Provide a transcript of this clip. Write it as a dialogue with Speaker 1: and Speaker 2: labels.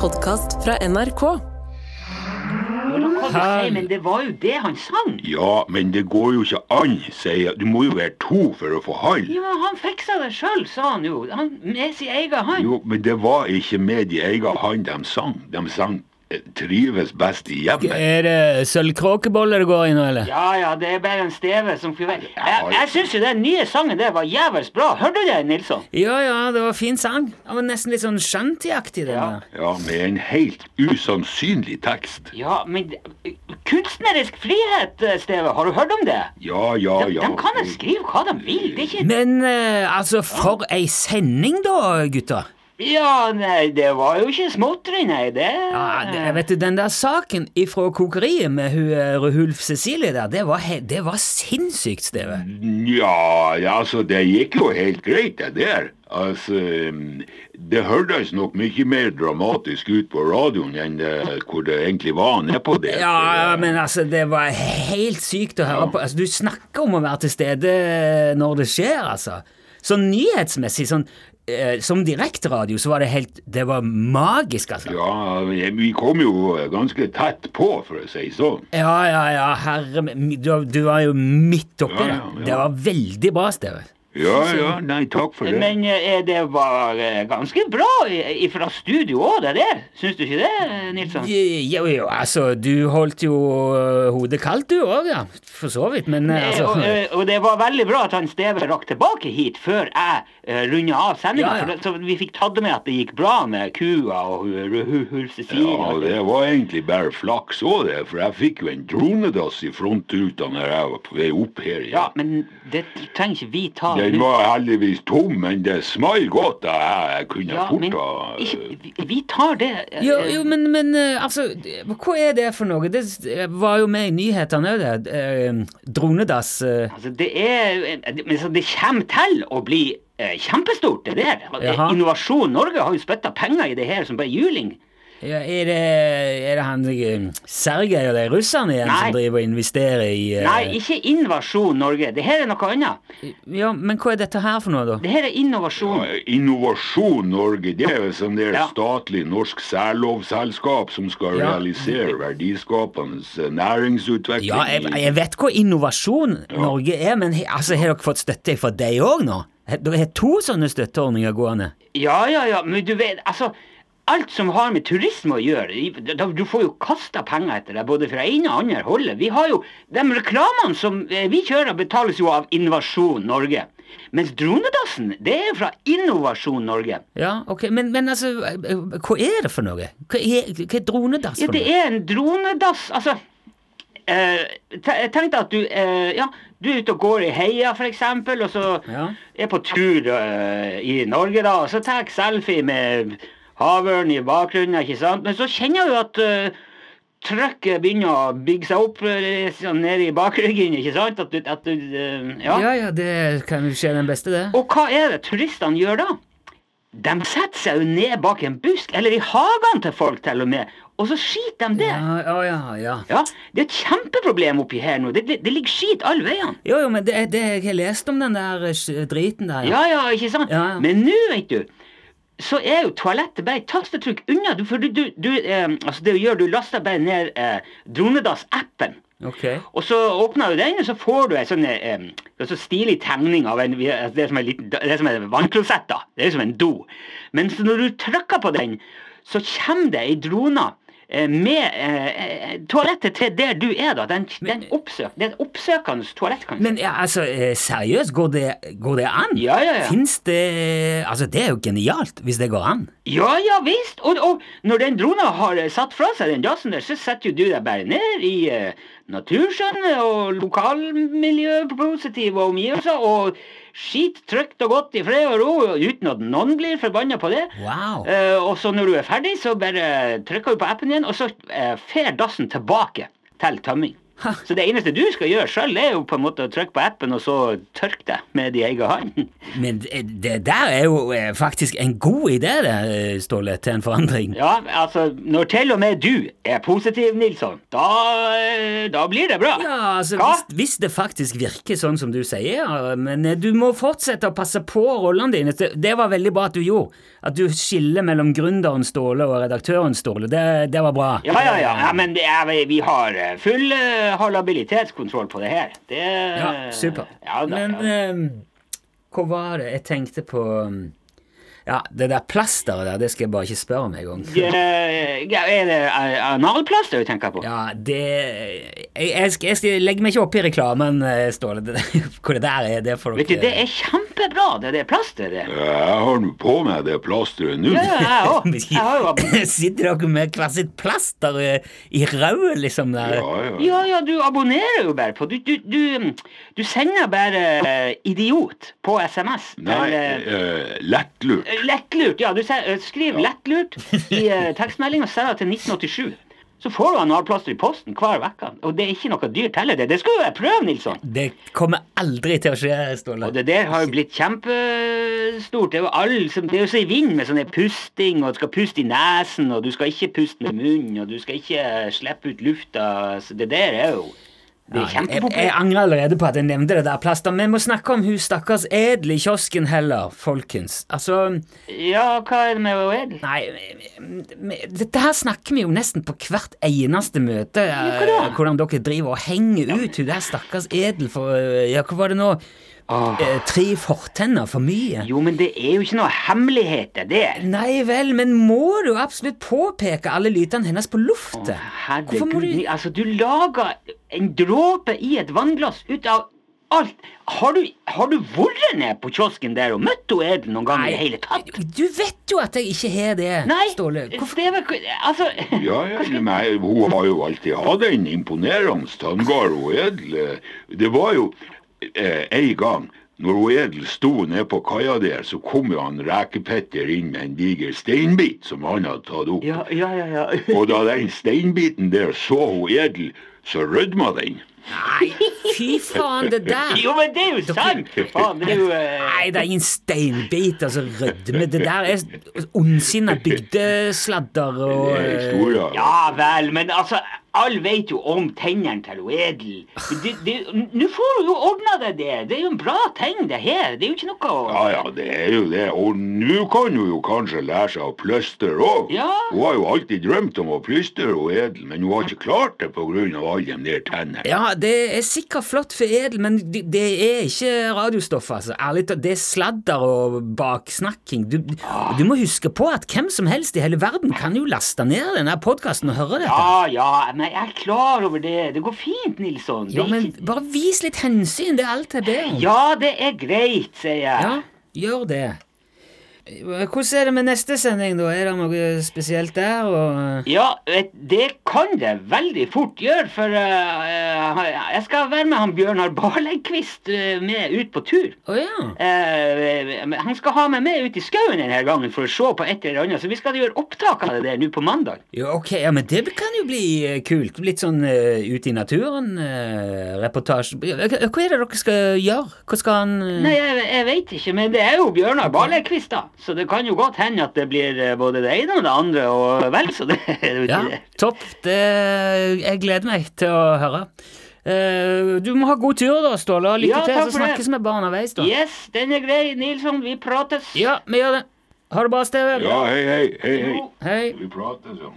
Speaker 1: podkast fra NRK.
Speaker 2: Nei, men det var jo det han sang.
Speaker 3: Ja, men det går jo ikke an, sier jeg. Du må jo være to for å få han.
Speaker 2: Jo, men han fiksa det sjøl, sa han jo. Han, med sin egen hånd.
Speaker 3: Jo, men det var ikke med i egen hand de sang. De sang eh, 'Trives best i hjemmet'.
Speaker 4: Er det sølvkråkeboller det går i nå, eller?
Speaker 2: Ja ja, det er bare en steve som kunne være
Speaker 3: Ja,
Speaker 2: Jeg, jeg syns jo den nye sangen der var jævels bra. Hørte du det, Nilsson?
Speaker 4: Ja ja, det var fin sang. Det var nesten litt sånn shantyaktig, det.
Speaker 2: Ja.
Speaker 4: der.
Speaker 3: Ja, med en helt usannsynlig tekst.
Speaker 2: Ja, men det- Kunstnerisk frihet, eh, Steve. Har du hørt om det?
Speaker 3: Ja, ja,
Speaker 2: De,
Speaker 3: ja.
Speaker 2: de kan jo skrive hva de vil. Det er ikke
Speaker 4: Men eh, altså, for ei sending, da, gutter.
Speaker 2: Ja, nei, det var jo ikke småtteri, nei. Det
Speaker 4: Ja, det, vet du, Den der saken ifra kokeriet med hun eh, Rehulf Cecilie der, det var, he det var sinnssykt, Steve.
Speaker 3: Ja, ja, altså, det gikk jo helt greit, det der. Altså, mm, det hørtes nok mye mer dramatisk ut på radioen enn eh, hvor det egentlig var nedpå der.
Speaker 4: Ja,
Speaker 3: Så, eh,
Speaker 4: men altså, det var helt sykt å høre på. Altså, du snakker om å være til stede når det skjer, altså. Sånn nyhetsmessig, sånn eh, som direkteradio, så var det helt Det var magisk, altså.
Speaker 3: Ja, vi kom jo ganske tett på, for å si sånn.
Speaker 4: Ja, ja, ja, herre min- Du, du var jo midt oppi
Speaker 3: Ja,
Speaker 4: det.
Speaker 3: ja, ja.
Speaker 4: Det var veldig bra, Steve.
Speaker 3: Ja, ja, nei, takk for det.
Speaker 2: Men eh, det var eh, ganske bra i- ifra studio òg, det der. Syns du ikke det, Nilsson?
Speaker 4: Jo, jo, altså, du holdt jo eh, hodet kaldt, du òg, ja. For så vidt, men eh,
Speaker 2: Eh, Og,
Speaker 4: altså
Speaker 2: eh, og det var veldig bra at han Steve rakk tilbake hit før jeg runda av sendinga.
Speaker 4: Ja, ja.
Speaker 2: Så vi fikk tatt det med at det gikk bra med kua og hu- hu- hu- hu- Cecilie.
Speaker 3: Ja,
Speaker 2: og
Speaker 3: det var egentlig bare flaks òg, det, for jeg fikk jo en dronedass i frontruta når jeg var på vei opp her.
Speaker 2: Ja,
Speaker 3: Ja.
Speaker 2: men det trenger ikke vi ta
Speaker 3: Den var heldigvis tom, men det smalt godt. da Jeg, jeg kunne
Speaker 2: Ja,
Speaker 3: fort eh.
Speaker 2: men
Speaker 3: ha
Speaker 2: ikke, vi, vi tar det eh,
Speaker 4: Jo, jo men, men eh, altså, eh, hva er det for noe? Det s- eh, var jo med i nyhetene òg, det. eh, Dronedass. eh.
Speaker 2: Altså, det er eh, Men så det kommer til å bli eh, kjempestort, det der. Eh,
Speaker 4: Jaha.
Speaker 2: Innovasjon Norge har jo spytta penger i det her som bare juling.
Speaker 4: Ja, er, det, er det han eh, Sergej og de russerne igjen
Speaker 2: Nei.
Speaker 4: som driver og investerer i eh,
Speaker 2: Nei, ikke Invasjon Norge. Det her er noe annet.
Speaker 4: Ja, Men hva er dette her for noe, da?
Speaker 2: Det her er innovasjon.
Speaker 3: Ja, Innovasjon Norge, det er jo sånn der
Speaker 2: Ja.
Speaker 3: statlig norsk særlovselskap som skal
Speaker 4: Ja.
Speaker 3: realisere verdiskapende eh, næringsutvikling.
Speaker 4: Ja, jeg, jeg vet hva Innovasjon Norge er, men he- altså, har dere fått støtte fra deg òg nå? He- Dere har to sånne støtteordninger gående.
Speaker 2: Ja, ja, ja, men du vet, altså Alt som har med turisme å gjøre, i- da- du får jo kasta penger etter deg, både fra ene og andre holdet. Vi har jo, De reklamene som eh, vi kjører, betales jo av Innovasjon Norge. Mens Dronedassen, det er fra Innovasjon Norge.
Speaker 4: Ja, ok, Men, men altså, eh, eh, hva er det for noe? Hva er, hva er dronedass
Speaker 2: Ja,
Speaker 4: for
Speaker 2: det
Speaker 4: noe?
Speaker 2: er en dronedass. Altså eh, te- Tenk deg at du eh, Ja, du er ute og går i heia, for eksempel, og så
Speaker 4: Ja.
Speaker 2: er på tur eh, i Norge, da, og så tar jeg selfie med havørn i bakgrunnen, ikke sant, men så kjenner du at eh, Trøkket begynner å bygge seg opp eh, sånn nede i bakryggen. ikke sant? At du, at du, eh, ja.
Speaker 4: Ja, ja, det kan jo skje den beste, det.
Speaker 2: Og hva er det turistene gjør da? De setter seg jo ned bak en busk, eller i hagene til folk til og med, og så skiter de det.
Speaker 4: Ja, ja, ja, ja.
Speaker 2: Ja, det er et kjempeproblem oppi her nå. Det, det, det ligger skit alle veiene.
Speaker 4: Jo, jo, men det, det, jeg har lest om den der eh, sj- driten der.
Speaker 2: Ja, ja, ikke sant?
Speaker 4: Ja, ja.
Speaker 2: Men nå, vet du, så er jo toalettet bare et tastetrykk unna. Du, for du, du, du eh, altså det du gjør, du laster bare ned eh, Dronedass-appen.
Speaker 4: Ok.
Speaker 2: Og så åpner du den, og så får du en sånn eh, en sånn stilig tegning av en, altså det er som en liten, det er som en vannklosett. da. Det er som en do. Men så når du trykker på den, så kommer det ei drone eh, med eh, eh, toalettet til der du er. da. Den, den oppsøk, det er et oppsøkende toalett. kanskje.
Speaker 4: Men ja, altså, eh, seriøst, går det, går det an?
Speaker 2: Ja, ja, ja.
Speaker 4: Fins det Altså, det er jo genialt, hvis det går an.
Speaker 2: Ja, ja visst! Og, og når den drona har eh, satt fra seg den dassen der, så setter jo du deg bare ned i eh, naturskjønne og lokalmiljøpositive omgivelser og skit trygt og godt i fred og ro uten at noen blir forbanna på det.
Speaker 4: Wow.
Speaker 2: Eh, og så når du er ferdig, så bare trykker du på appen igjen, og så eh, fer dassen tilbake til tømming. Så det eneste du skal gjøre sjøl, er jo på en måte å trykke på appen og så tørke deg med din egen hånd.
Speaker 4: Men det, det der er jo eh, faktisk en god idé, det, eh, Ståle, til en forandring.
Speaker 2: Ja, altså, når til og med du er positiv, Nilsson, da, eh, da blir det bra.
Speaker 4: Ja, altså,
Speaker 2: Hva?
Speaker 4: hvis, hvis det faktisk virker sånn som du sier, ja, men eh, du må fortsette å passe på rollene dine. Det, det var veldig bra at du gjorde. At du skiller mellom gründeren Ståle og redaktøren Ståle. Det, det var bra.
Speaker 2: Ja, ja, ja. ja men det er, vi har eh, full eh, habilitetskontroll på det her. Det,
Speaker 4: Ja, super.
Speaker 2: Ja, da,
Speaker 4: Men
Speaker 2: ja.
Speaker 4: ehm, hva var det jeg tenkte på ehm, Ja, det der plasteret der, det skal jeg bare ikke spørre om engang.
Speaker 2: Eh, ja, Er det eh, analplaster du tenker på?
Speaker 4: Ja, det jeg, jeg, skal, jeg skal legge meg ikke opp i reklamen, eh, Ståle. Det, hvor det der er, det får dere
Speaker 2: Vet du, det er kjempebra, det der plasteret der.
Speaker 3: Jeg har nå på meg det plasteret
Speaker 4: Mm.
Speaker 3: nå.
Speaker 2: Ja, ja, jeg òg. Jeg har jo ab-
Speaker 4: Sitter dere med hvert sitt plaster eh, i røret, liksom? Der.
Speaker 3: Ja, ja.
Speaker 2: Ja, ja, du abonnerer jo bare på Du, du, du, du sender bare eh, 'idiot' på SMS.
Speaker 3: Nei,
Speaker 2: Eller,
Speaker 3: eh, lettlurt.
Speaker 2: eh, lettlurt. Ja, du se- eh, skriver 'lettlurt' i eh, tekstmelding og sender til 1987. Så får du analplaster i posten hver uke. Og det er ikke noe dyrt heller. Det Det skulle jo jeg prøve, Nilsson.
Speaker 4: Det kommer aldri til å skje, Ståle.
Speaker 2: Og det der har jo blitt kjempestort. Det er jo, alle som, det er jo så i vind med sånn pusting, og du skal puste i nesen, og du skal ikke puste med munnen, og du skal ikke eh, slippe ut lufta. Så det der er jo
Speaker 4: Ja,
Speaker 2: Det er
Speaker 4: jeg, jeg
Speaker 2: kjempepopulært.
Speaker 4: angrer allerede på at jeg nevnte det der plaster. Vi må snakke om hun stakkars edel i kiosken heller, folkens. Altså,
Speaker 2: Ja, hva er det med Edel?
Speaker 4: nei vi- vi- Dette her snakker vi jo nesten på hvert eneste møte. eh,
Speaker 2: hva da?
Speaker 4: Hvordan dere driver og henger ut hun der stakkars edel for eh, Ja, hva var det nå?
Speaker 2: Åh.
Speaker 4: Eh, Tre fortenner for mye?
Speaker 2: Jo, men det er jo ikke noe hemmelighet, det der.
Speaker 4: Nei vel, men må du absolutt påpeke alle lytene hennes på luftet? Hvorfor må
Speaker 2: Herregud,
Speaker 4: du
Speaker 2: Ni- altså, du lager en dråpe i et vannglass ut av alt. Har du, har du vært ned på kiosken der og møtt hun Edel noen gang i det hele tatt?
Speaker 4: Du vet jo at jeg ikke har det,
Speaker 2: Nei,
Speaker 4: Ståle. Hvorfor
Speaker 2: det var Altså
Speaker 3: Ja, ja, nei, hun har jo alltid hatt en imponerende tanngard, hun Edel. Det var jo eh, en gang når hun Edel sto nede på kaia der, så kom jo han Rekepetter inn med en diger steinbit som han hadde tatt opp.
Speaker 2: Ja, ja, ja. ja.
Speaker 3: Og da den steinbiten der så hun Edel, så rødma den.
Speaker 4: Fy faen, det der!
Speaker 2: Jo, men det er jo sant! for Faen, det er jo eh,
Speaker 4: Nei, det er ingen steinbit, altså rødme. Det der er ondsinna bygdesladder og
Speaker 3: Det er historia.
Speaker 2: Ja vel, men altså Alle vet jo om tennene til hun Edel. Det- det- Nå får hun jo ordna det der. Det er jo en bra ting, det her. Det er jo ikke noe å
Speaker 3: Ja, ja, det er jo det. Og nå kan hun jo kanskje lære seg å plystre òg.
Speaker 2: Ja.
Speaker 3: Hun har jo alltid drømt om å plystre og edel, men hun har ikke klart det pga. alle de der tennene.
Speaker 4: eh, Ja, det er sikkert flott for edel, men det det er ikke radiostoff, altså. Ærlig talt, det er sladder og baksnakking. Du, du må huske på at hvem som helst i hele verden kan jo laste ned denne podkasten og høre dette.
Speaker 2: Ja, ja, men jeg er klar over det. Det går fint, Nilsson. Det er
Speaker 4: Ja, men
Speaker 2: ikke-
Speaker 4: bare vis litt hensyn, det er alt jeg ber om.
Speaker 2: ja, det er greit, sier jeg.
Speaker 4: Ja, gjør det. Hvordan er det med neste sending, da? Er det noe spesielt der? og...
Speaker 2: Ja, vet- det kan det veldig fort gjøre, for eh, jeg skal være med han Bjørnar Barlegkvist eh, med ut på tur.
Speaker 4: Å ja.
Speaker 2: Eh, men han skal ha meg med ut i skauen denne gangen for å se på et eller annet, så vi skal gjøre opptak av det der nå på mandag.
Speaker 4: Ja, ok, ja, men det kan jo bli eh, kult. Litt sånn eh, ut i naturen-reportasje. Hva er det dere skal gjøre? Hva skal han eh,
Speaker 2: Nei, jeg, jeg veit ikke, men det er jo Bjørnar Barlekvist, da. Så det kan jo godt hende at det blir eh, både det ene og det andre og vel så det.
Speaker 4: Ja, topp. Det, jeg gleder meg til å høre. Eh, du må ha god tur, da, Ståle. og Lykke
Speaker 2: Ja,
Speaker 4: til, så
Speaker 2: takk for det.
Speaker 4: snakkes vi bare underveis, da.
Speaker 2: Yes, den er grei, Nilsson. Vi prates.
Speaker 4: Ja, vi gjør det. Ha det bra, Steve.
Speaker 3: Ja, hei, hei, hei, hei.
Speaker 4: Hei.
Speaker 3: Vi prater sånn.